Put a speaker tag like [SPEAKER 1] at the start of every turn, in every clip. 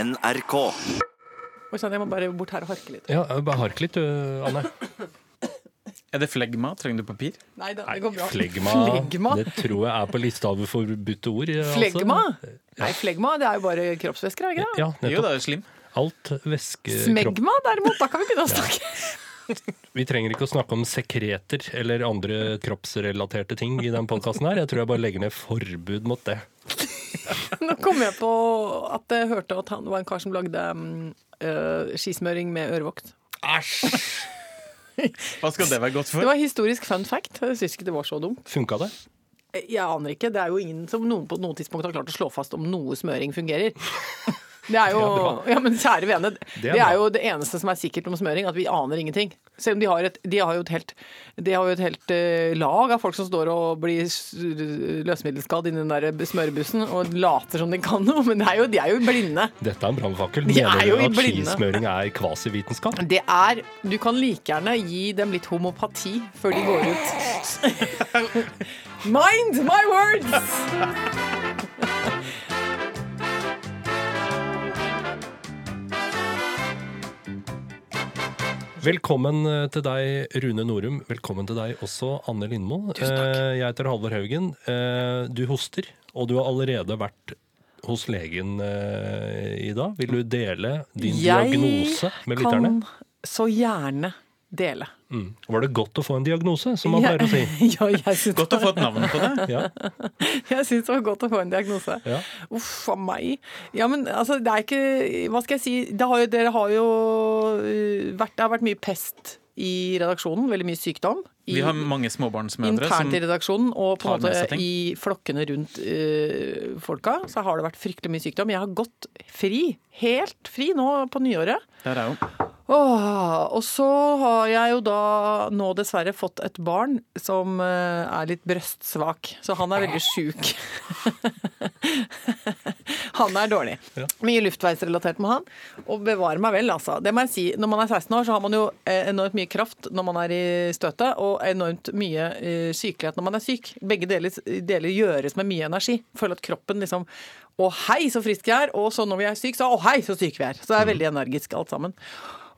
[SPEAKER 1] NRK.
[SPEAKER 2] Oi sann, jeg må bare bort her og harke litt.
[SPEAKER 3] Ja, eh, bare hark litt, du, Anne.
[SPEAKER 4] Er det flegma? Trenger du papir?
[SPEAKER 2] Nei da, det går bra.
[SPEAKER 3] Flegma,
[SPEAKER 2] Flegma?
[SPEAKER 3] Det tror jeg er på lista over forbudte ord. altså.
[SPEAKER 2] Flegma? Nei, flegma det er jo bare kroppsvæsker, er det ikke det?
[SPEAKER 3] Ja,
[SPEAKER 4] Jo, det
[SPEAKER 3] nettopp.
[SPEAKER 4] er slim.
[SPEAKER 3] Alt væske... kropp-
[SPEAKER 2] Smegma derimot, da kan vi begynne å snakke.
[SPEAKER 3] Vi trenger ikke å snakke om sekreter eller andre kroppsrelaterte ting i den podkasten her. Jeg tror jeg bare legger ned forbud mot det.
[SPEAKER 2] Nå kom jeg på at jeg hørte at han det var en kar som lagde mm, øh, skismøring med ørevokt.
[SPEAKER 3] Æsj!
[SPEAKER 4] Hva skal det være godt
[SPEAKER 2] Det
[SPEAKER 4] for?
[SPEAKER 2] var historisk fun fact. Jeg syns ikke det var så dumt.
[SPEAKER 3] Funka det?
[SPEAKER 2] Jeg aner ikke. Det er jo ingen som noen på noe tidspunkt har klart å slå fast om noe smøring fungerer. Det er jo, ja, men kjære vene, det
[SPEAKER 3] er
[SPEAKER 2] er,
[SPEAKER 3] bra.
[SPEAKER 2] jo det eneste som er sikkert om smøring, at vi aner ingenting. Selv om de har, et, de har jo et helt, de har jo et helt eh, lag av folk som står og blir s- løsemiddelskadd inni den der smørebussen og later som de kan noe, men det er jo, de er jo blinde.
[SPEAKER 3] Dette er en brannfakkel.
[SPEAKER 2] De er
[SPEAKER 3] Mener
[SPEAKER 2] jo
[SPEAKER 3] du
[SPEAKER 2] i
[SPEAKER 3] at
[SPEAKER 2] blinde.
[SPEAKER 3] skismøring er kvasivitenskap?
[SPEAKER 2] Det er Du kan like gjerne gi dem litt homopati før de går ut. Mind my words!
[SPEAKER 3] Velkommen eh, til deg, Rune Norum. Velkommen til deg også, Anne Lindmo. Eh, Jeg heter Halvor Haugen. Eh, Du hoster, og du har allerede vært hos legen eh, i dag. Vil du dele din diagnose med lytterne?
[SPEAKER 2] Jeg kan så gjerne dele.
[SPEAKER 3] Mm. Var det godt å få en diagnose, som man pleier å si?
[SPEAKER 2] ja, jeg syns
[SPEAKER 4] Godt å få et navn på det.
[SPEAKER 3] Ja,
[SPEAKER 2] Jeg syns det var godt å få en diagnose.
[SPEAKER 3] Ja.
[SPEAKER 2] Uff a meg. Ja, men altså, det er ikke Hva skal jeg si? Det har jo, dere har jo øh, vært Det har vært mye pest i redaksjonen. Veldig mye sykdom. I,
[SPEAKER 4] Vi har mange småbarnsmødre som
[SPEAKER 2] internt i redaksjonen og på
[SPEAKER 4] tar
[SPEAKER 2] en
[SPEAKER 4] med seg
[SPEAKER 2] måte
[SPEAKER 4] ting.
[SPEAKER 2] i flokkene rundt øh, folka. Så har det vært fryktelig mye sykdom. Jeg har gått fri. Helt fri nå på nyåret.
[SPEAKER 4] Der er jo
[SPEAKER 2] Åh, og så har jeg jo da nå dessverre fått et barn som eh, er litt brøstsvak, så han er veldig sjuk. han er dårlig. Mye luftveisrelatert med han. Og bevare meg vel, altså. Det må jeg si. Når man er 16 år, så har man jo eh, enormt mye kraft når man er i støtet, og enormt mye eh, sykelighet når man er syk. Begge deler, deler gjøres med mye energi. Føler at kroppen liksom Å hei, så frisk jeg er! Og så når vi er syke, så å hei, så syke vi er! Så det er veldig energisk alt sammen.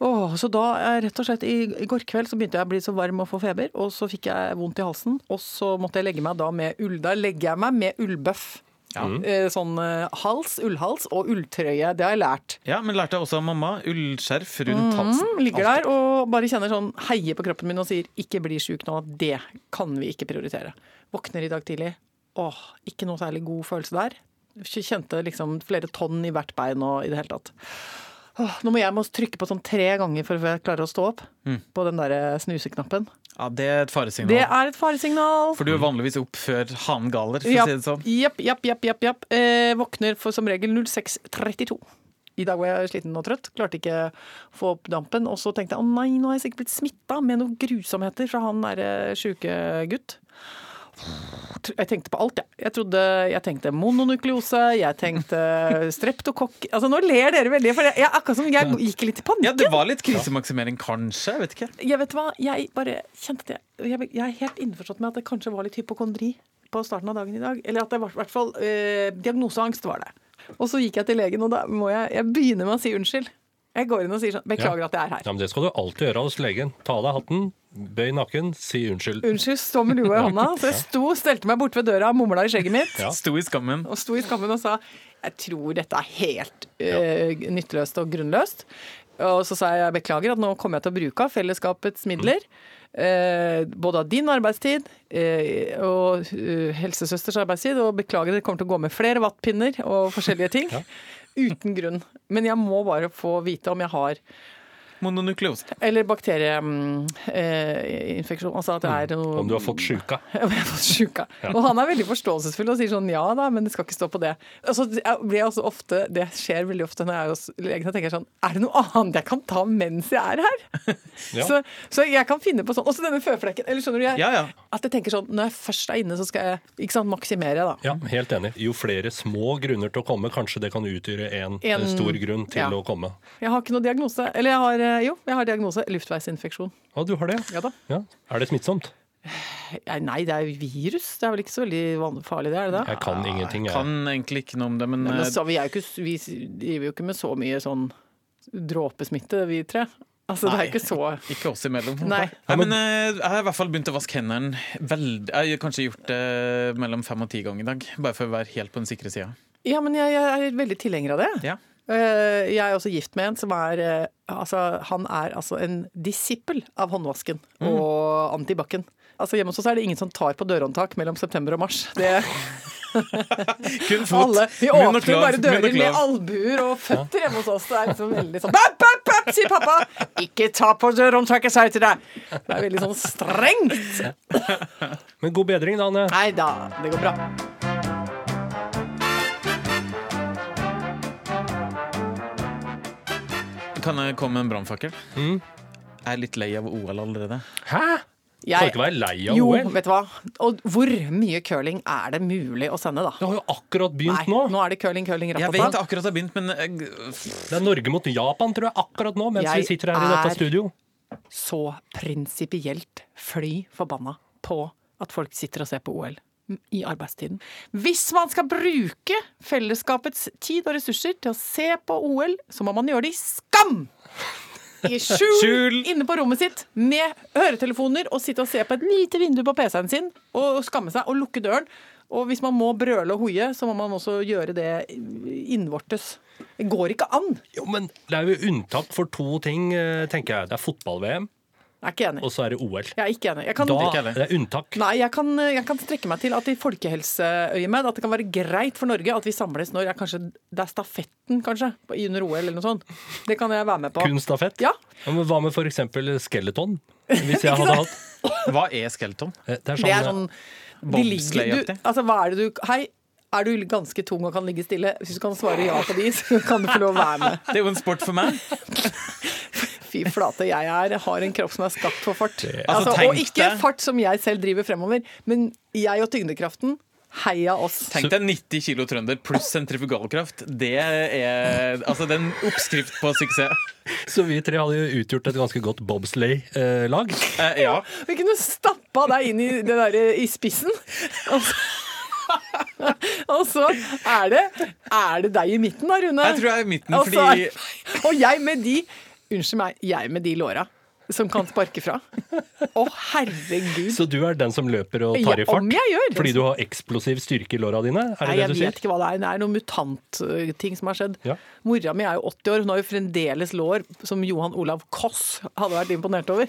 [SPEAKER 2] Åh, så da, eh, rett og slett, i, I går kveld så begynte jeg å bli så varm og få feber, og så fikk jeg vondt i halsen. Og så måtte jeg legge meg da med ull. Da legger jeg meg med ullbøff. Eh, Sånn eh, hals, ullhals og ulltrøye. Det har jeg lært.
[SPEAKER 4] Ja, men lærte jeg også av mamma. Ullskjerf rundt halsen.
[SPEAKER 2] Mm, Ligger der og bare kjenner sånn heier på kroppen min og sier 'ikke bli sjuk nå', det kan vi ikke prioritere. Våkner i dag tidlig, åh, ikke noe særlig god følelse der. Kjente liksom flere tonn i hvert bein og i det hele tatt. Åh, nå må jeg må trykke på sånn tre ganger for å klare å stå opp, på den derre snuseknappen.
[SPEAKER 4] Ja, det er et faresignal.
[SPEAKER 2] Det er et faresignal!
[SPEAKER 4] For du er vanligvis opp før hanen galer, for å
[SPEAKER 2] Japp,
[SPEAKER 4] si det sånn.
[SPEAKER 2] japp, japp, japp, japp, japp. Eh, våkner for som regel 06.32. I dag var jeg sliten og trøtt, klarte ikke å få opp dampen. Og så tenkte jeg å nei, nå har jeg sikkert blitt smitta med noen grusomheter fra han derre sjuke gutt. Jeg tenkte på alt, jeg. Jeg, trodde, jeg tenkte mononukleose, jeg tenkte streptokokk Altså, nå ler dere veldig, for jeg, jeg, akkurat som jeg gikk litt i panikk.
[SPEAKER 4] Ja, det var litt krisemaksimering, kanskje. Jeg vet ikke.
[SPEAKER 2] Jeg vet hva, jeg bare kjente det. Jeg, jeg er helt innforstått med at det kanskje var litt hypokondri på starten av dagen i dag. Eller at det var i hvert fall eh, diagnoseangst var det. Og så gikk jeg til legen, og da må jeg, jeg begynne med å si unnskyld. Jeg går inn og sier sånn Beklager
[SPEAKER 3] Ja.
[SPEAKER 2] at jeg er her.
[SPEAKER 3] Ja, men Det skal du alltid gjøre hos legen. Ta av deg hatten, bøy nakken, si unnskyld.
[SPEAKER 2] Unnskyld, stå med lua i hånda. Så jeg sto, stelte meg borte ved døra og mumla i skjegget mitt.
[SPEAKER 3] Ja.
[SPEAKER 4] Sto i skammen.
[SPEAKER 2] Og sto i skammen og sa jeg tror dette er helt eh, nytteløst og grunnløst. Og så sa jeg jeg beklager at nå kommer jeg til å bruke av fellesskapets
[SPEAKER 3] Mm.
[SPEAKER 2] midler. eh, både av din arbeidstid eh, og eh, helsesøsters arbeidstid. Og beklager, det kommer til å gå med flere vattpinner og forskjellige ting. Uten grunn. Men jeg må bare få vite om jeg har
[SPEAKER 4] Mononukleose.
[SPEAKER 2] Eller bakterieinfeksjon. altså at det er noe
[SPEAKER 3] Mm. Om du har fått sjuka.
[SPEAKER 2] jeg ble fått sjuka. Og han er veldig forståelsesfull og sier sånn ja da, men det skal ikke stå på det. Altså, jeg blir også ofte, Det skjer veldig ofte når jeg er hos legen og tenker jeg sånn Er det noe annet jeg kan ta mens jeg er her?
[SPEAKER 3] Ja.
[SPEAKER 2] Så, så jeg kan finne på sånn. Også denne føflekken. Eller skjønner du? Jeg,
[SPEAKER 4] Ja, ja.
[SPEAKER 2] At jeg tenker sånn Når jeg først er inne, så skal jeg ikke sant, maksimere, da.
[SPEAKER 3] Ja, helt enig. Jo flere små grunner til å komme, kanskje det kan utgjøre en,
[SPEAKER 2] En-
[SPEAKER 3] eh, stor grunn til
[SPEAKER 2] ja.
[SPEAKER 3] å komme.
[SPEAKER 2] Jeg har ikke noe diagnose. Eller jeg har eh, jo, jeg har diagnose luftveisinfeksjon.
[SPEAKER 3] Ja, du har det,
[SPEAKER 2] Ja da.
[SPEAKER 3] ja. Er det smittsomt?
[SPEAKER 2] Eh, Nei, det er jo virus. Det er vel ikke så veldig van- farlig, det er det det?
[SPEAKER 3] Jeg kan ingenting, jeg.
[SPEAKER 4] Kan egentlig ikke noe om det, men,
[SPEAKER 2] Men
[SPEAKER 4] eh,
[SPEAKER 2] altså, vi, er jo ikke, vi driver jo ikke med så mye sånn dråpesmitte, vi tre. Altså, det
[SPEAKER 4] Nei.
[SPEAKER 2] er ikke så
[SPEAKER 4] ikke oss imellom.
[SPEAKER 2] Nei.
[SPEAKER 4] Nei, men eh, jeg har i hvert fall begynt å vaske hendene veldig Jeg har kanskje gjort det mellom fem og ti ganger i dag, bare for å være helt på den sikre sida.
[SPEAKER 2] Ja, men jeg, jeg er veldig tilhenger av det.
[SPEAKER 4] Ja.
[SPEAKER 2] Eh, Jeg er også gift med en som er eh, altså, Han er altså en disippel av håndvasken og antibac-en. Altså, hjemme hos oss er det ingen som tar på dørhåndtak mellom september og mars. Det,
[SPEAKER 4] Kun
[SPEAKER 2] alle, vi
[SPEAKER 4] munn og
[SPEAKER 2] åpner
[SPEAKER 4] kløv,
[SPEAKER 2] bare
[SPEAKER 4] munn og
[SPEAKER 2] dører med
[SPEAKER 4] kløv.
[SPEAKER 2] albuer og føtter hjemme hos oss. Det er liksom veldig sånn Papp, papp, papp, sier pappa! Ikke ta på dørhåndtaket, sa jeg til deg! Det er veldig sånn strengt.
[SPEAKER 3] Men god bedring, da, Anne.
[SPEAKER 2] Nei da, det går bra.
[SPEAKER 4] Kan jeg komme med en brannfakkel? Jeg er litt lei av OL allerede.
[SPEAKER 3] Hæ? Kan ikke være lei av
[SPEAKER 2] jo,
[SPEAKER 3] OL.
[SPEAKER 2] vet du hva. Og hvor mye curling er det mulig å sende, da?
[SPEAKER 3] Det har jo akkurat begynt
[SPEAKER 2] Nei,
[SPEAKER 3] nå.
[SPEAKER 2] nå er det curling, curling,
[SPEAKER 4] Jeg vet det
[SPEAKER 2] ratata.
[SPEAKER 4] akkurat har begynt, men eh, jeg,
[SPEAKER 3] Det er Norge mot Japan, tror jeg, akkurat nå, mens
[SPEAKER 2] Jeg
[SPEAKER 3] vi sitter her i dette
[SPEAKER 2] er-
[SPEAKER 3] studio.
[SPEAKER 2] Så prinsipielt fly forbanna på at folk sitter og ser på OL i arbeidstiden. Hvis man skal bruke fellesskapets tid og ressurser til å se på OL, så må man gjøre det i skam! I skjul,
[SPEAKER 4] Skjul!
[SPEAKER 2] inne på rommet sitt med høretelefoner og sitte og se på et lite vindu på PC-en sin og skamme seg og lukke døren. Og hvis man må brøle og hoie, så må man også gjøre det innvortes. Det går ikke an!
[SPEAKER 3] Jo, men det er jo unntak for to ting, eh, tenker jeg. Det er fotball-VM,
[SPEAKER 2] Jeg er ikke enig.
[SPEAKER 3] og så er det OL.
[SPEAKER 2] Jeg er ikke enig. Jeg kan,
[SPEAKER 3] Da
[SPEAKER 4] ikke heller.
[SPEAKER 3] det er unntak.
[SPEAKER 2] nei, jeg kan, jeg kan strekke meg til at i folkehelseøyemed at det kan være greit for Norge at vi samles når jeg kanskje, det er stafetten, kanskje, på- under OL eller noe sånt. Det kan jeg være med på.
[SPEAKER 3] Kun stafett.
[SPEAKER 2] Ja.
[SPEAKER 3] Ja, Men hva med for eksempel skeleton? Hvis jeg hadde hatt
[SPEAKER 4] hva er skeleton?
[SPEAKER 3] Eh, Det er sånn,
[SPEAKER 2] Det er sånn de ligger, du,
[SPEAKER 4] Bobsleigh-aktig.
[SPEAKER 2] altså, hva er det du, Hei, er du ganske tung og kan ligge stille? Hvis du kan svare ja på de, så kan du få lov å være med.
[SPEAKER 4] Det er jo en sport for meg.
[SPEAKER 2] Fy flate, jeg er, har en kropp som er skapt for fart.
[SPEAKER 4] Altså,
[SPEAKER 2] Altså, og
[SPEAKER 4] tenk
[SPEAKER 2] ikke
[SPEAKER 4] deg-
[SPEAKER 2] fart som jeg selv driver fremover, men jeg og tyngdekraften, heia oss.
[SPEAKER 4] Tenk deg 90 kilo trønder pluss sentrifugalkraft. Det er altså det er en oppskrift på suksess.
[SPEAKER 3] Så vi tre hadde jo utgjort et ganske godt bobsleigh-lag.
[SPEAKER 4] Eh, ja.
[SPEAKER 2] Vi kunne stappa deg inn i, det der, eh, i spissen. Og så, og så er, det, er det deg i midten da, Rune.
[SPEAKER 4] Jeg tror jeg er i midten,
[SPEAKER 2] Og så
[SPEAKER 4] fordi-
[SPEAKER 2] er- Og jeg med de Unnskyld meg, jeg med de låra som kan sparke fra. Å, herregud.
[SPEAKER 3] Så du er den som løper og tar i
[SPEAKER 2] Ja,
[SPEAKER 3] fart?
[SPEAKER 2] om jeg gjør.
[SPEAKER 3] Fordi du har eksplosiv styrke i låra dine? Er
[SPEAKER 2] Nei,
[SPEAKER 3] det
[SPEAKER 2] jeg
[SPEAKER 3] det du
[SPEAKER 2] vet
[SPEAKER 3] sier?
[SPEAKER 2] ikke hva det er. Det er noen mutantting som har skjedd.
[SPEAKER 3] Ja.
[SPEAKER 2] Mora mi er jo 80 år, hun har jo fremdeles lår som Johan Olav Koss hadde vært imponert over.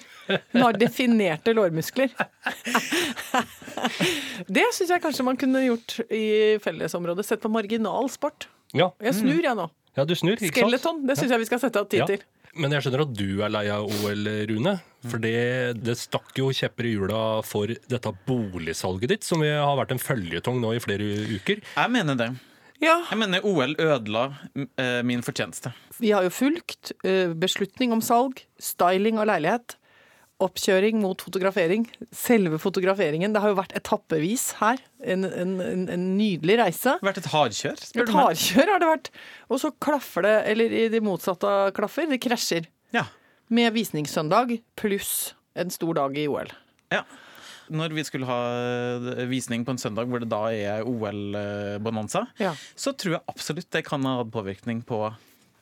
[SPEAKER 2] Hun har definerte lårmuskler. Det syns jeg kanskje man kunne gjort i fellesområdet. Sett på marginal sport.
[SPEAKER 3] Ja.
[SPEAKER 2] Jeg snur, jeg nå.
[SPEAKER 3] ja, du snur, Mm. ikke sant?
[SPEAKER 2] Skeleton, det syns jeg vi skal sette av tid
[SPEAKER 3] Ja.
[SPEAKER 2] til.
[SPEAKER 3] Men jeg skjønner at du er lei av OL, Rune. For det, det stakk jo kjepper i hjula for dette boligsalget ditt, som vi har vært en føljetong nå i flere uker.
[SPEAKER 4] Jeg mener det.
[SPEAKER 2] Ja,
[SPEAKER 4] Jeg mener OL ødela eh, min fortjeneste.
[SPEAKER 2] Vi har jo fulgt eh, beslutning om salg, styling av leilighet, oppkjøring mot fotografering. Selve fotograferingen. Det har jo vært etappevis her. En, en, en, en nydelig reise.
[SPEAKER 4] Vært et hardkjør. spør
[SPEAKER 2] Et
[SPEAKER 4] du meg.
[SPEAKER 2] hardkjør har det vært. Og så klaffer det, eller i det motsatte av klaffer, det krasjer.
[SPEAKER 4] Ja.
[SPEAKER 2] Med visningssøndag pluss en stor dag i OL.
[SPEAKER 4] ja. Når vi skulle ha eh, visning på en søndag hvor det da er eh, OL-bonanza,
[SPEAKER 2] Ja.
[SPEAKER 4] så tror jeg absolutt det kan ha hatt påvirkning på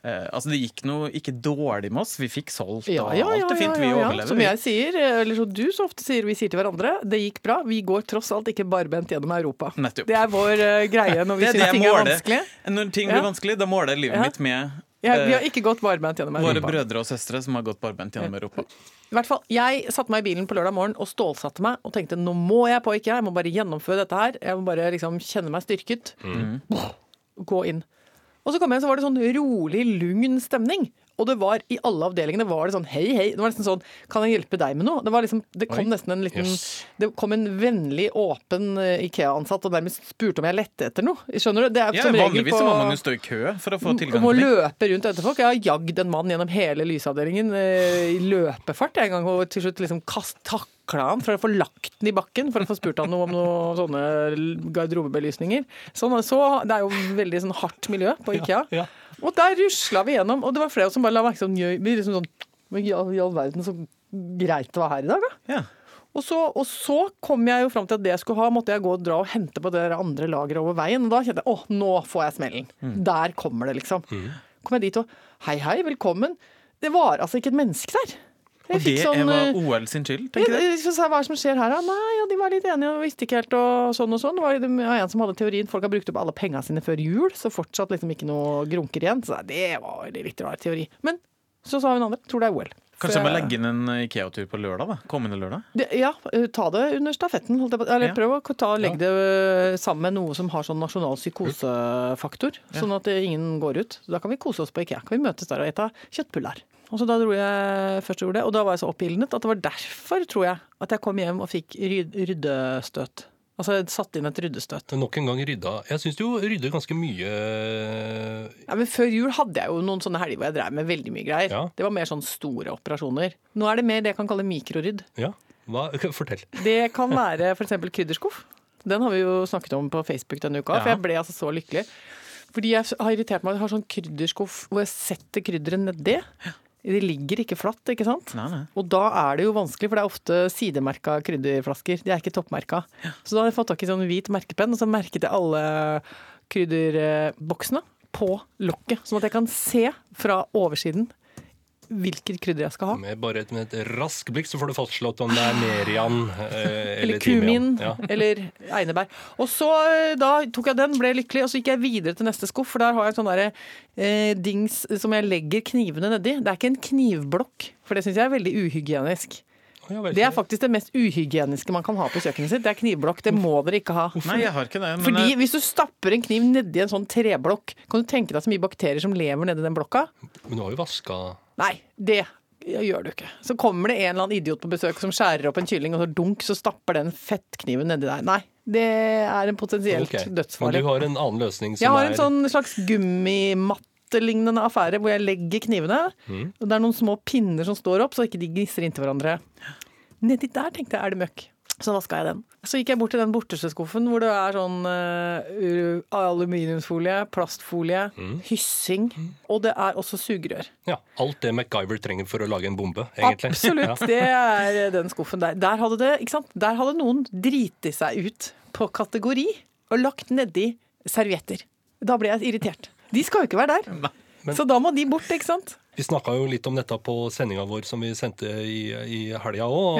[SPEAKER 4] eh, Altså, det gikk noe ikke dårlig med oss. Vi fikk solgt
[SPEAKER 2] Ja,
[SPEAKER 4] og
[SPEAKER 2] ja, ja,
[SPEAKER 4] alt det fint.
[SPEAKER 2] ja,
[SPEAKER 4] Vi
[SPEAKER 2] ja, ja.
[SPEAKER 4] overlever.
[SPEAKER 2] Som
[SPEAKER 4] vi.
[SPEAKER 2] jeg sier, eller som du så ofte sier, vi sier til hverandre, det gikk bra. Vi går tross alt ikke barbent gjennom Europa.
[SPEAKER 4] Nettopp.
[SPEAKER 2] Det er vår eh, greie når vi
[SPEAKER 4] Det er det
[SPEAKER 2] syns
[SPEAKER 4] jeg
[SPEAKER 2] ting er
[SPEAKER 4] måler.
[SPEAKER 2] vanskelig.
[SPEAKER 4] Når ting
[SPEAKER 2] Ja.
[SPEAKER 4] blir vanskelig, da måler jeg livet
[SPEAKER 2] Ja.
[SPEAKER 4] mitt med
[SPEAKER 2] Ja, vi har
[SPEAKER 4] eh,
[SPEAKER 2] ikke gått barbent gjennom
[SPEAKER 4] Våre
[SPEAKER 2] Europa.
[SPEAKER 4] brødre og søstre som har gått barbent gjennom Europa.
[SPEAKER 2] I hvert fall, Jeg satte meg i bilen på lørdag morgen og stålsatte meg og tenkte nå må jeg på, ikke jeg. Jeg må bare gjennomføre dette her. Jeg må bare liksom kjenne meg styrket.
[SPEAKER 4] Mm.
[SPEAKER 2] Gå inn. Og så kom jeg, så var det sånn rolig, lugn stemning. Og det var i alle avdelingene var det sånn hei, hei. Det var nesten sånn kan jeg hjelpe deg med noe? Det, var liksom, det kom
[SPEAKER 4] Oi.
[SPEAKER 2] nesten en liten
[SPEAKER 3] Jøss.
[SPEAKER 2] Det kom en vennlig, åpen eh, Ikea-ansatt og nærmest spurte om jeg lette etter noe. Skjønner du? Det er
[SPEAKER 4] Ja,
[SPEAKER 2] som regel
[SPEAKER 4] vanligvis
[SPEAKER 2] på
[SPEAKER 4] så må man jo stå i kø for å få tilgang
[SPEAKER 2] Må
[SPEAKER 4] til ting.
[SPEAKER 2] løpe rundt etter folk. Jeg har jagd en mann gjennom hele lysavdelingen eh, i løpefart jeg en gang, og til slutt liksom kast, takla han for å få lagt den i bakken, for å få spurt han noe om noen sånne garderobebelysninger. Sånn, så, det er jo veldig sånn hardt miljø på IKEA.
[SPEAKER 3] ja.
[SPEAKER 2] Og der rusla vi gjennom, og det var flere som bare la merke til sånn, jø- vi liksom sånn Men i all, i all verden, så greit det var her i dag, da.
[SPEAKER 4] Ja.
[SPEAKER 2] Og så, og så kom jeg jo fram til at det jeg skulle ha, måtte jeg gå og dra og hente på det der andre lageret over veien. Og da kjente jeg åh, nå får jeg smellen.
[SPEAKER 4] Mm.
[SPEAKER 2] Der kommer det, liksom. Kom jeg dit og hei, hei, velkommen. Det var altså ikke et menneske der. Jeg
[SPEAKER 4] Og det
[SPEAKER 2] fikk sånn,
[SPEAKER 4] var
[SPEAKER 2] eh,
[SPEAKER 4] OL sin skyld, tenker jeg.
[SPEAKER 2] jeg, så sa jeg, hva er det som skjer her, da? Nei, ja, de var litt enige og visste ikke helt og sånn og sånn. Det var jo det var en som hadde teorien folk har brukt opp alle pengene sine før jul, så fortsatt liksom ikke noe grunker igjen. Så det var en litt rar teori. Men så sa hun andre, tror det er OL.
[SPEAKER 4] Kanskje jeg må
[SPEAKER 2] Så-
[SPEAKER 4] legge inn en eh, Ikea-tur på lørdag? da, Kommende lørdag?
[SPEAKER 2] det, ja, eh, ta det under stafetten. Holdt jeg på. Eller
[SPEAKER 4] Ja.
[SPEAKER 2] prøv å ta, legge det eh, sammen med noe som har sånn nasjonal psykosefaktor, sånn at eh, ingen går ut. Da kan vi kose oss på IKEA. Kan vi møtes der og ete kjøttbuller. Og så da dro jeg først og gjorde det, og da var jeg så oppildnet at det var derfor, tror jeg, at jeg kom hjem og fikk ryd ryddestøt. Altså jeg satte inn et ryddestøt.
[SPEAKER 3] Nok en gang rydda. Jeg syns du jo rydder ganske mye
[SPEAKER 2] Ja, men Før jul hadde jeg jo noen sånne helger hvor jeg drev med veldig mye greier.
[SPEAKER 3] Ja.
[SPEAKER 2] Det var mer sånn store operasjoner. Nå er det mer det jeg kan kalle mikrorydd.
[SPEAKER 3] Ja, hva? fortell.
[SPEAKER 2] Det kan være f.eks. krydderskuff. Den har vi jo snakket om på Facebook denne uka, for
[SPEAKER 4] Ja.
[SPEAKER 2] jeg ble altså så lykkelig. Fordi jeg har irritert meg, jeg har sånn krydderskuff hvor jeg setter krydderet nedi. Det ligger ikke flatt, ikke sant?
[SPEAKER 4] Nei, nei.
[SPEAKER 2] Og da er det jo vanskelig, for det er ofte sidemerka krydderflasker. De er ikke toppmerka. Så da har jeg fått tak i sånn hvit merkepenn, og så merket jeg alle krydderboksene på lokket. Sånn at jeg kan se fra oversiden hvilket krydder jeg skal ha.
[SPEAKER 3] Med bare et, med et rask blikk så får du fastslått om det er merian eh,
[SPEAKER 2] Eller
[SPEAKER 3] eller timian.
[SPEAKER 2] kumin,
[SPEAKER 3] Ja.
[SPEAKER 2] eller einebær. Og så eh, da tok jeg den, ble lykkelig, og så gikk jeg videre til neste skuff, for der har jeg sånn derre eh, dings som jeg legger knivene nedi. Det er ikke en knivblokk, for det syns jeg er veldig uhygienisk.
[SPEAKER 3] Å, ja vel.
[SPEAKER 2] Det er faktisk det mest uhygieniske man kan ha på kjøkkenet sitt. Det er knivblokk. Det må dere ikke ha.
[SPEAKER 4] Nei, jeg har ikke det. Men eh,
[SPEAKER 2] Fordi
[SPEAKER 4] jeg-
[SPEAKER 2] hvis du stapper en kniv nedi en sånn treblokk, kan du tenke deg så mye bakterier som lever nedi den blokka?
[SPEAKER 3] Men du har jo vaska
[SPEAKER 2] Nei, det gjør du ikke. Så kommer det en eller annen idiot på besøk som skjærer opp en kylling, og så dunk, så stapper den fettkniven nedi der. Nei, det er en potensielt
[SPEAKER 3] Ok. Men
[SPEAKER 2] dødsfarlig.
[SPEAKER 3] du har en annen løsning som
[SPEAKER 2] Jeg har en
[SPEAKER 3] er
[SPEAKER 2] sånn slags gummimattelignende affære hvor jeg legger knivene.
[SPEAKER 3] Mm.
[SPEAKER 2] Og det er noen små pinner som står opp, så ikke de gnisser inntil hverandre. Nedi der tenkte jeg er det møkk. Så vaska jeg den. Så gikk jeg bort til den borteskuffen hvor det er sånn eh, u- aluminiumsfolie, plastfolie,
[SPEAKER 3] Mm.
[SPEAKER 2] hyssing, og det er også sugerør.
[SPEAKER 3] ja, alt det MacGyver trenger for å lage en bombe, egentlig.
[SPEAKER 2] Absolutt.
[SPEAKER 3] Ja.
[SPEAKER 2] Det er eh, den skuffen der. Der hadde, det, ikke sant? der hadde noen driti seg ut på kategori og lagt nedi servietter. Da ble jeg irritert. De skal jo ikke være der. Så da må de bort, ikke sant?
[SPEAKER 3] Vi snakka jo litt om dette på sendinga vår som vi sendte i, i helga òg,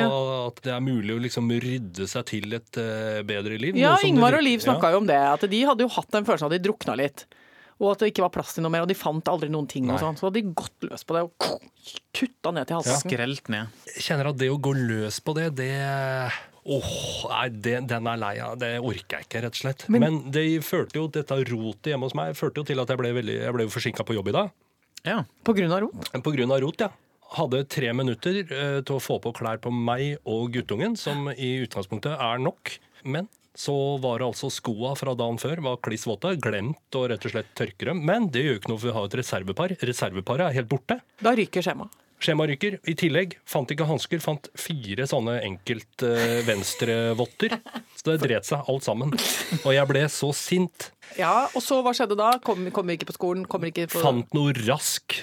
[SPEAKER 3] at det er mulig å liksom rydde seg til et eh, bedre liv.
[SPEAKER 2] Ja,
[SPEAKER 3] noe som du-
[SPEAKER 2] Ingvar og Liv snakka jo om det. At de hadde jo hatt den følelsen av at de drukna litt. Og at det ikke var plass til noe mer, og de fant aldri noen ting. og
[SPEAKER 3] Nei.
[SPEAKER 2] sånn. Så hadde de gått løs på det og kutta ned til halsen.
[SPEAKER 4] Skrelt ned.
[SPEAKER 3] Jeg kjenner at det å gå løs på det, det Åh, nei, det, den er lei av. Det orker jeg ikke, rett og slett. Men, det førte jo, dette rotet hjemme hos meg førte jo til at jeg ble, veldig, jeg ble jo forsinka på jobb i dag.
[SPEAKER 4] Ja.
[SPEAKER 2] På grunn av rot.
[SPEAKER 3] På grunn av rot, ja. Hadde tre minutter eh, til å få på klær på meg og guttungen, som i utgangspunktet er nok. Men så var det altså skoa fra dagen før var kliss våte. Glemt å rett og slett tørke dem. Men det gjør jo ikke noe, for vi har et reservepar. Reserveparet er helt borte.
[SPEAKER 2] Da ryker skjemaet.
[SPEAKER 3] Skjema ryker. I tillegg fant ikke hansker, fant fire sånne enkelt eh, venstrevotter. Så det dret seg alt sammen. Og jeg ble så sint.
[SPEAKER 2] Ja, og så hva skjedde da? Kom- Kommer ikke på skolen, kommer ikke på
[SPEAKER 3] Fant noe rask.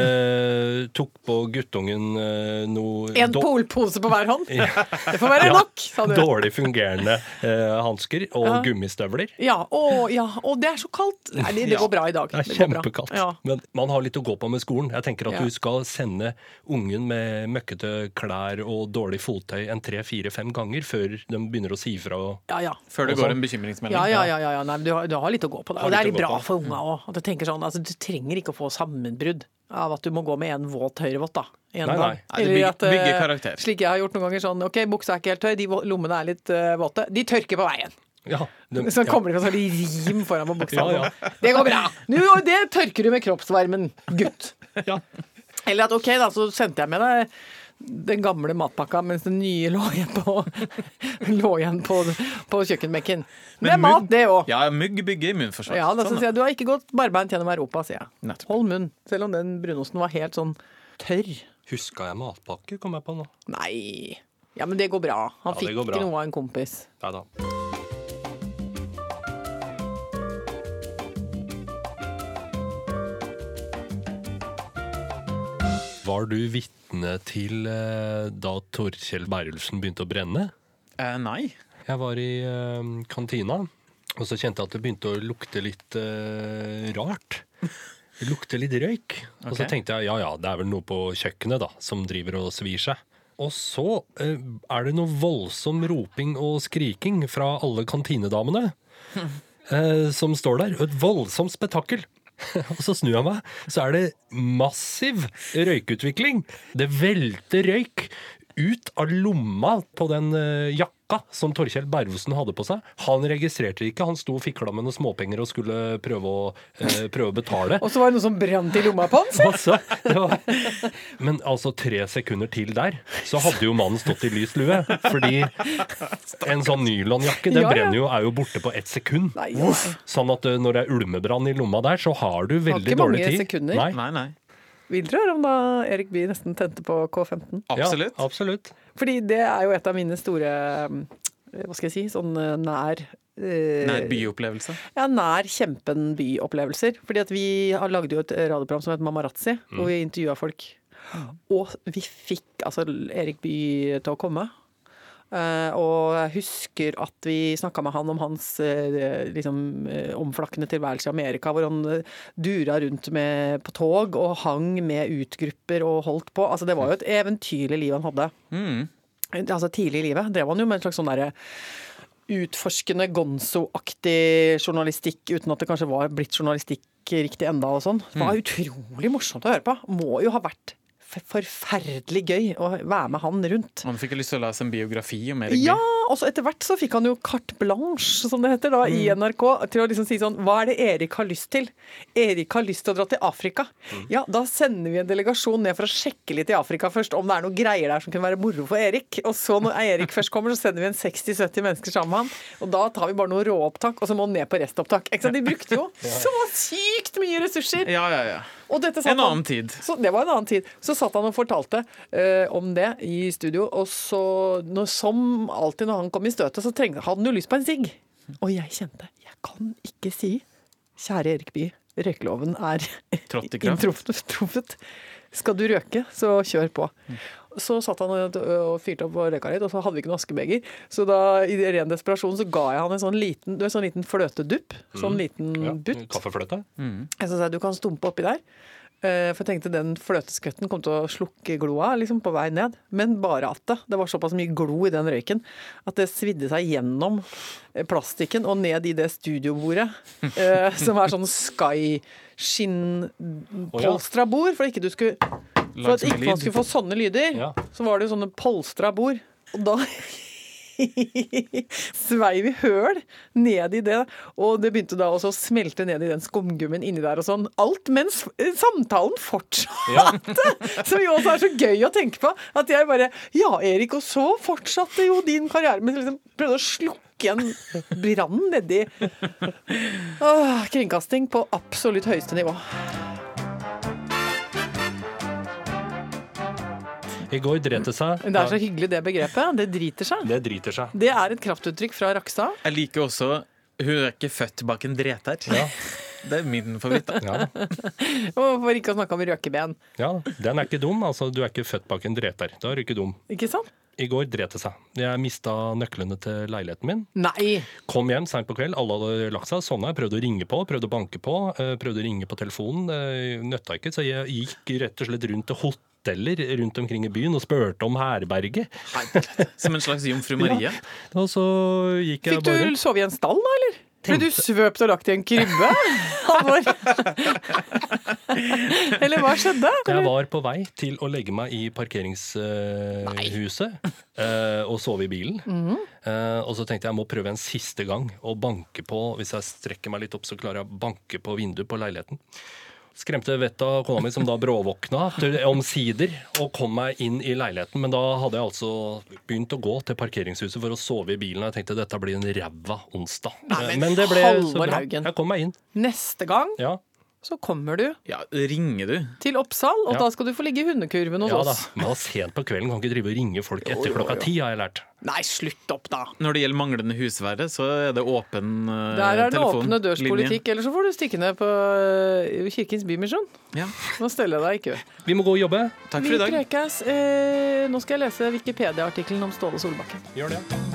[SPEAKER 3] Eh, tok på guttungen eh, noe
[SPEAKER 2] En
[SPEAKER 3] do-
[SPEAKER 2] polpose på hver hånd? Det får være nok, sa du.
[SPEAKER 3] dårlig fungerende eh, hansker og
[SPEAKER 2] Ja.
[SPEAKER 3] gummistøvler.
[SPEAKER 2] Ja, å, ja, å, det er så kaldt! Nei, det, det går bra i dag.
[SPEAKER 3] Det er
[SPEAKER 2] går bra.
[SPEAKER 3] kjempekaldt.
[SPEAKER 2] Ja.
[SPEAKER 3] Men man har litt å gå på med skolen. Jeg tenker at
[SPEAKER 2] Ja.
[SPEAKER 3] du skal sende ungen med møkkete klær og dårlig fottøy en tre-fire-fem ganger før de begynner å si ifra. og
[SPEAKER 2] Ja, ja.
[SPEAKER 4] Før det
[SPEAKER 3] Og så-
[SPEAKER 4] går en
[SPEAKER 2] sånn.
[SPEAKER 4] bekymringsmelding.
[SPEAKER 2] Ja, ja, ja, ja, ja. Nei, men du, har, du har litt å gå på der.
[SPEAKER 3] Har
[SPEAKER 2] Og det er
[SPEAKER 3] litt å
[SPEAKER 2] litt
[SPEAKER 3] gå
[SPEAKER 2] bra
[SPEAKER 3] på. Mm.
[SPEAKER 2] for unga òg. Du tenker sånn, altså, du trenger ikke å få sammenbrudd av at du må gå med en våt høyrevott, da. En
[SPEAKER 3] Nei, nei.
[SPEAKER 2] gang.
[SPEAKER 4] Nei, det
[SPEAKER 2] Eller
[SPEAKER 4] bygger-
[SPEAKER 2] at, eh,
[SPEAKER 4] bygger karakter.
[SPEAKER 2] Slik jeg har gjort noen ganger sånn, ok, buksa er ikke helt tørr, de vå- lommene er litt eh, våte. De tørker på veien.
[SPEAKER 3] Ja, de,
[SPEAKER 2] Så
[SPEAKER 3] ja.
[SPEAKER 2] kommer det sånn rim foran på buksa.
[SPEAKER 3] Ja, ja.
[SPEAKER 2] Det går bra! Nå, og det tørker du med kroppsvarmen, gutt.
[SPEAKER 3] Ja.
[SPEAKER 2] Eller at ok, da, så sendte jeg med deg den gamle matpakka, mens den nye lå igjen på, lå igjen på, på kjøkkenbenken. Det er mat, det òg.
[SPEAKER 4] Ja, mygg bygger immunforsvar.
[SPEAKER 2] Ja, da
[SPEAKER 4] Sånn,
[SPEAKER 2] sier jeg du har ikke gått barbeint gjennom Europa, sier jeg.
[SPEAKER 4] Nettopp.
[SPEAKER 2] Hold munn. Selv om den brunosten var helt sånn tørr.
[SPEAKER 3] Huska jeg matpakke, kom jeg på nå.
[SPEAKER 2] Nei. Ja, men det går bra. Han
[SPEAKER 3] Ja, det
[SPEAKER 2] fikk
[SPEAKER 3] går bra.
[SPEAKER 2] noe av en kompis.
[SPEAKER 3] Nei da. Var du vitne til eh, da Torkjell Berulfsen begynte å brenne?
[SPEAKER 4] Eh, nei.
[SPEAKER 3] Jeg var i eh, kantina, og så kjente jeg at det begynte å lukte litt eh, rart. Det lukter litt røyk. Og så
[SPEAKER 4] Ok.
[SPEAKER 3] tenkte jeg ja ja, det er vel noe på kjøkkenet da, som driver og svir seg. Og så eh, er det noe voldsom roping og skriking fra alle kantinedamene eh, som står der. Et voldsomt spetakkel. Og så snur jeg meg, så er det massiv røykutvikling. Det velter røyk ut av lomma på den eh, jakka som Torkjell Bervesen hadde på seg. Han registrerte det ikke, han sto og fikla med noen småpenger og skulle prøve å, eh, prøve å betale.
[SPEAKER 2] Og så var det noe som brant i lomma på han. se.
[SPEAKER 3] Altså, det var... Men altså, tre sekunder til der, så hadde jo mannen stått i lys lue. Fordi en sånn nylonjakke, den
[SPEAKER 2] Ja, ja.
[SPEAKER 3] brenner jo, er jo borte på ett sekund.
[SPEAKER 2] Nei, ja, nei.
[SPEAKER 3] Sånn at eh, når det er ulmebrann i lomma der, så har du veldig
[SPEAKER 2] ikke
[SPEAKER 3] dårlig
[SPEAKER 2] mange
[SPEAKER 3] tid.
[SPEAKER 2] sekunder.
[SPEAKER 3] Nei.
[SPEAKER 4] Nei, nei.
[SPEAKER 2] Vil dere høre om da Erik Bye nesten tente på K15?
[SPEAKER 4] Absolutt.
[SPEAKER 3] Ja, absolutt.
[SPEAKER 2] Fordi det er jo et av mine store eh, Hva skal jeg si? Sånn eh, nær eh,
[SPEAKER 4] Nei, byopplevelse.
[SPEAKER 2] Ja, nær kjempen by-opplevelser. Fordi at vi har lagde jo et radioprogram som het Mamarazzi, hvor vi intervjua folk. Og vi fikk altså Erik Bye til å komme. Eh, og jeg husker at vi snakka med han om hans eh, liksom, eh, omflakkende tilværelse i Amerika, hvor han eh, dura rundt med, på tog og hang med utgrupper og holdt på. Altså, det var jo et eventyrlig liv han hadde.
[SPEAKER 4] Mm.
[SPEAKER 2] Altså, tidlig i livet drev han jo med en slags sånn derre utforskende gonzo-aktig journalistikk, uten at det kanskje var blitt journalistikk riktig enda og sånn. Det var utrolig morsomt å høre på. Må jo ha vært f- forferdelig gøy å være med han rundt.
[SPEAKER 4] Man fikk jo lyst til å lese en biografi om Erik
[SPEAKER 2] Ja,
[SPEAKER 4] Bye.
[SPEAKER 2] og så etter hvert så fikk han jo carte blanche, som det heter, da, i
[SPEAKER 4] Mm.
[SPEAKER 2] NRK, til å liksom si sånn Hva er det Erik har lyst til? Erik har lyst til å dra til Afrika.
[SPEAKER 4] Mm.
[SPEAKER 2] Ja, da sender vi en delegasjon ned for å sjekke litt i Afrika først, om det er noen greier der som kunne være moro for Erik. Og så når Erik først kommer, så sender vi en 60-70 mennesker sammen med han. Og da tar vi bare noen råopptak, og så må han ned på restopptak. Ikke sant? De brukte jo så sykt mye ressurser!
[SPEAKER 4] Ja, ja, ja.
[SPEAKER 2] Og dette satt
[SPEAKER 4] En
[SPEAKER 2] han-
[SPEAKER 4] annen tid.
[SPEAKER 2] så det var en annen tid. Så satt han og fortalte eh, om det i studio, og så, når, som alltid når han kom i støtet, så trengte, hadde han jo lyst på en sigg. Og jeg kjente, jeg kan ikke si, kjære Erik Bye, røykeloven er
[SPEAKER 4] Trådt i kraft.
[SPEAKER 2] inntruffet. Skal du røke, så kjør på. Så satt han og og fyrte opp og røyka litt, og så hadde vi ikke noe askebeger. Så da, i ren desperasjon, så ga jeg han en sånn liten, du vet, sånn liten fløtedupp. Sånn
[SPEAKER 4] Mm.
[SPEAKER 2] liten
[SPEAKER 3] Ja.
[SPEAKER 2] butt.
[SPEAKER 3] Kaffefløte.
[SPEAKER 2] Jeg sa du kan stumpe oppi der. Eh, For jeg tenkte den fløteskvetten kom til å slukke gloa liksom på vei ned. Men bare at det. Det var såpass mye glo i den røyken at det svidde seg gjennom eh, plastikken og ned i det studiobordet. eh, Som er sånn sky-skinn-polstra bord, for, ikke du skulle, for
[SPEAKER 4] Lagd
[SPEAKER 2] at
[SPEAKER 4] som en
[SPEAKER 2] ikke man
[SPEAKER 4] lyd.
[SPEAKER 2] skulle få sånne lyder.
[SPEAKER 3] Ja.
[SPEAKER 2] Så var det jo sånne polstra bord. Og da sveiv i høl ned i det, og det begynte da også å smelte ned i den skumgummen inni der og sånn. Alt mens eh, samtalen fortsatte! Som jo også er så gøy å tenke på. At jeg bare Ja, Erik, og så fortsatte jo din karriere. Men liksom prøvde å slukke en brann nedi Åh, Kringkasting på absolutt høyeste nivå.
[SPEAKER 3] I går dret det seg.
[SPEAKER 2] Men det er så hyggelig, det begrepet. Det driter seg.
[SPEAKER 3] Det driter seg.
[SPEAKER 2] Det er et kraftuttrykk fra Rakstad.
[SPEAKER 4] Jeg liker også Hun er ikke født bak en dreter.
[SPEAKER 3] Ja.
[SPEAKER 4] Det er min favoritt. da.
[SPEAKER 3] Ja.
[SPEAKER 2] Og for ikke å snakke om røkeben.
[SPEAKER 3] ja, den er ikke dum. Altså, du er ikke født bak en dreter. Da er du ikke dum.
[SPEAKER 2] Ikke sant?
[SPEAKER 3] I går dret det seg. Jeg mista nøklene til leiligheten min.
[SPEAKER 2] Nei!
[SPEAKER 3] Kom hjem seint på kveld, alle hadde lagt seg, sovna. Jeg prøvde å ringe på, prøvde å banke på, eh, prøvde å ringe på telefonen. eh, Nøtta ikke, så jeg gikk rett og slett rundt til hoteller rundt omkring i byen og spurte om herberge.
[SPEAKER 4] Som en slags jomfru Marie.
[SPEAKER 3] Og så gikk jeg
[SPEAKER 2] Fikk du
[SPEAKER 3] bare rundt.
[SPEAKER 2] sove i en stall da, eller? Ble du svøpt og lagt i en krybbe? Halvor? eller hva skjedde?
[SPEAKER 3] Jeg var på vei til å legge meg i parkeringshuset og sove i bilen.
[SPEAKER 2] Mhm.
[SPEAKER 3] Eh, og så tenkte jeg jeg må prøve en siste gang å banke på. Hvis jeg strekker meg litt opp, så klarer jeg å banke på vinduet på leiligheten. Skremte vettet av kona mi, som da bråvåkna til- omsider og kom meg inn i leiligheten. Men da hadde jeg altså begynt å gå til parkeringshuset for å sove i bilen. Og jeg tenkte dette blir en ræva onsdag.
[SPEAKER 2] Nei, men
[SPEAKER 3] Eh, det ble så
[SPEAKER 2] Halvor
[SPEAKER 3] bra.
[SPEAKER 2] Haugen.
[SPEAKER 3] Jeg kom meg inn.
[SPEAKER 2] Neste gang
[SPEAKER 3] Ja.
[SPEAKER 2] Så kommer du
[SPEAKER 4] Ja, ringer du?
[SPEAKER 2] til Oppsal, og
[SPEAKER 3] Ja.
[SPEAKER 2] da skal du få ligge i hundekurven hos
[SPEAKER 3] Ja da,
[SPEAKER 2] oss.
[SPEAKER 3] men da sent på kvelden kan ikke drive og ringe folk etter klokka ti, har jeg lært.
[SPEAKER 2] Nei, slutt opp, da!
[SPEAKER 4] Når det gjelder manglende husvære, så er det åpen eh,
[SPEAKER 2] Der er det
[SPEAKER 4] telefonlinje.
[SPEAKER 2] åpne dørspolitikk, eller så får du stikke ned på eh, Kirkens Bymisjon.
[SPEAKER 4] Ja.
[SPEAKER 2] Nå steller jeg deg i kø.
[SPEAKER 3] Vi må gå og jobbe.
[SPEAKER 4] Takk
[SPEAKER 2] Vi
[SPEAKER 4] for i dag.
[SPEAKER 2] prekes. Eh, nå skal jeg lese Wikipedia-artikkelen om Ståle Solbakken.
[SPEAKER 3] Gjør det.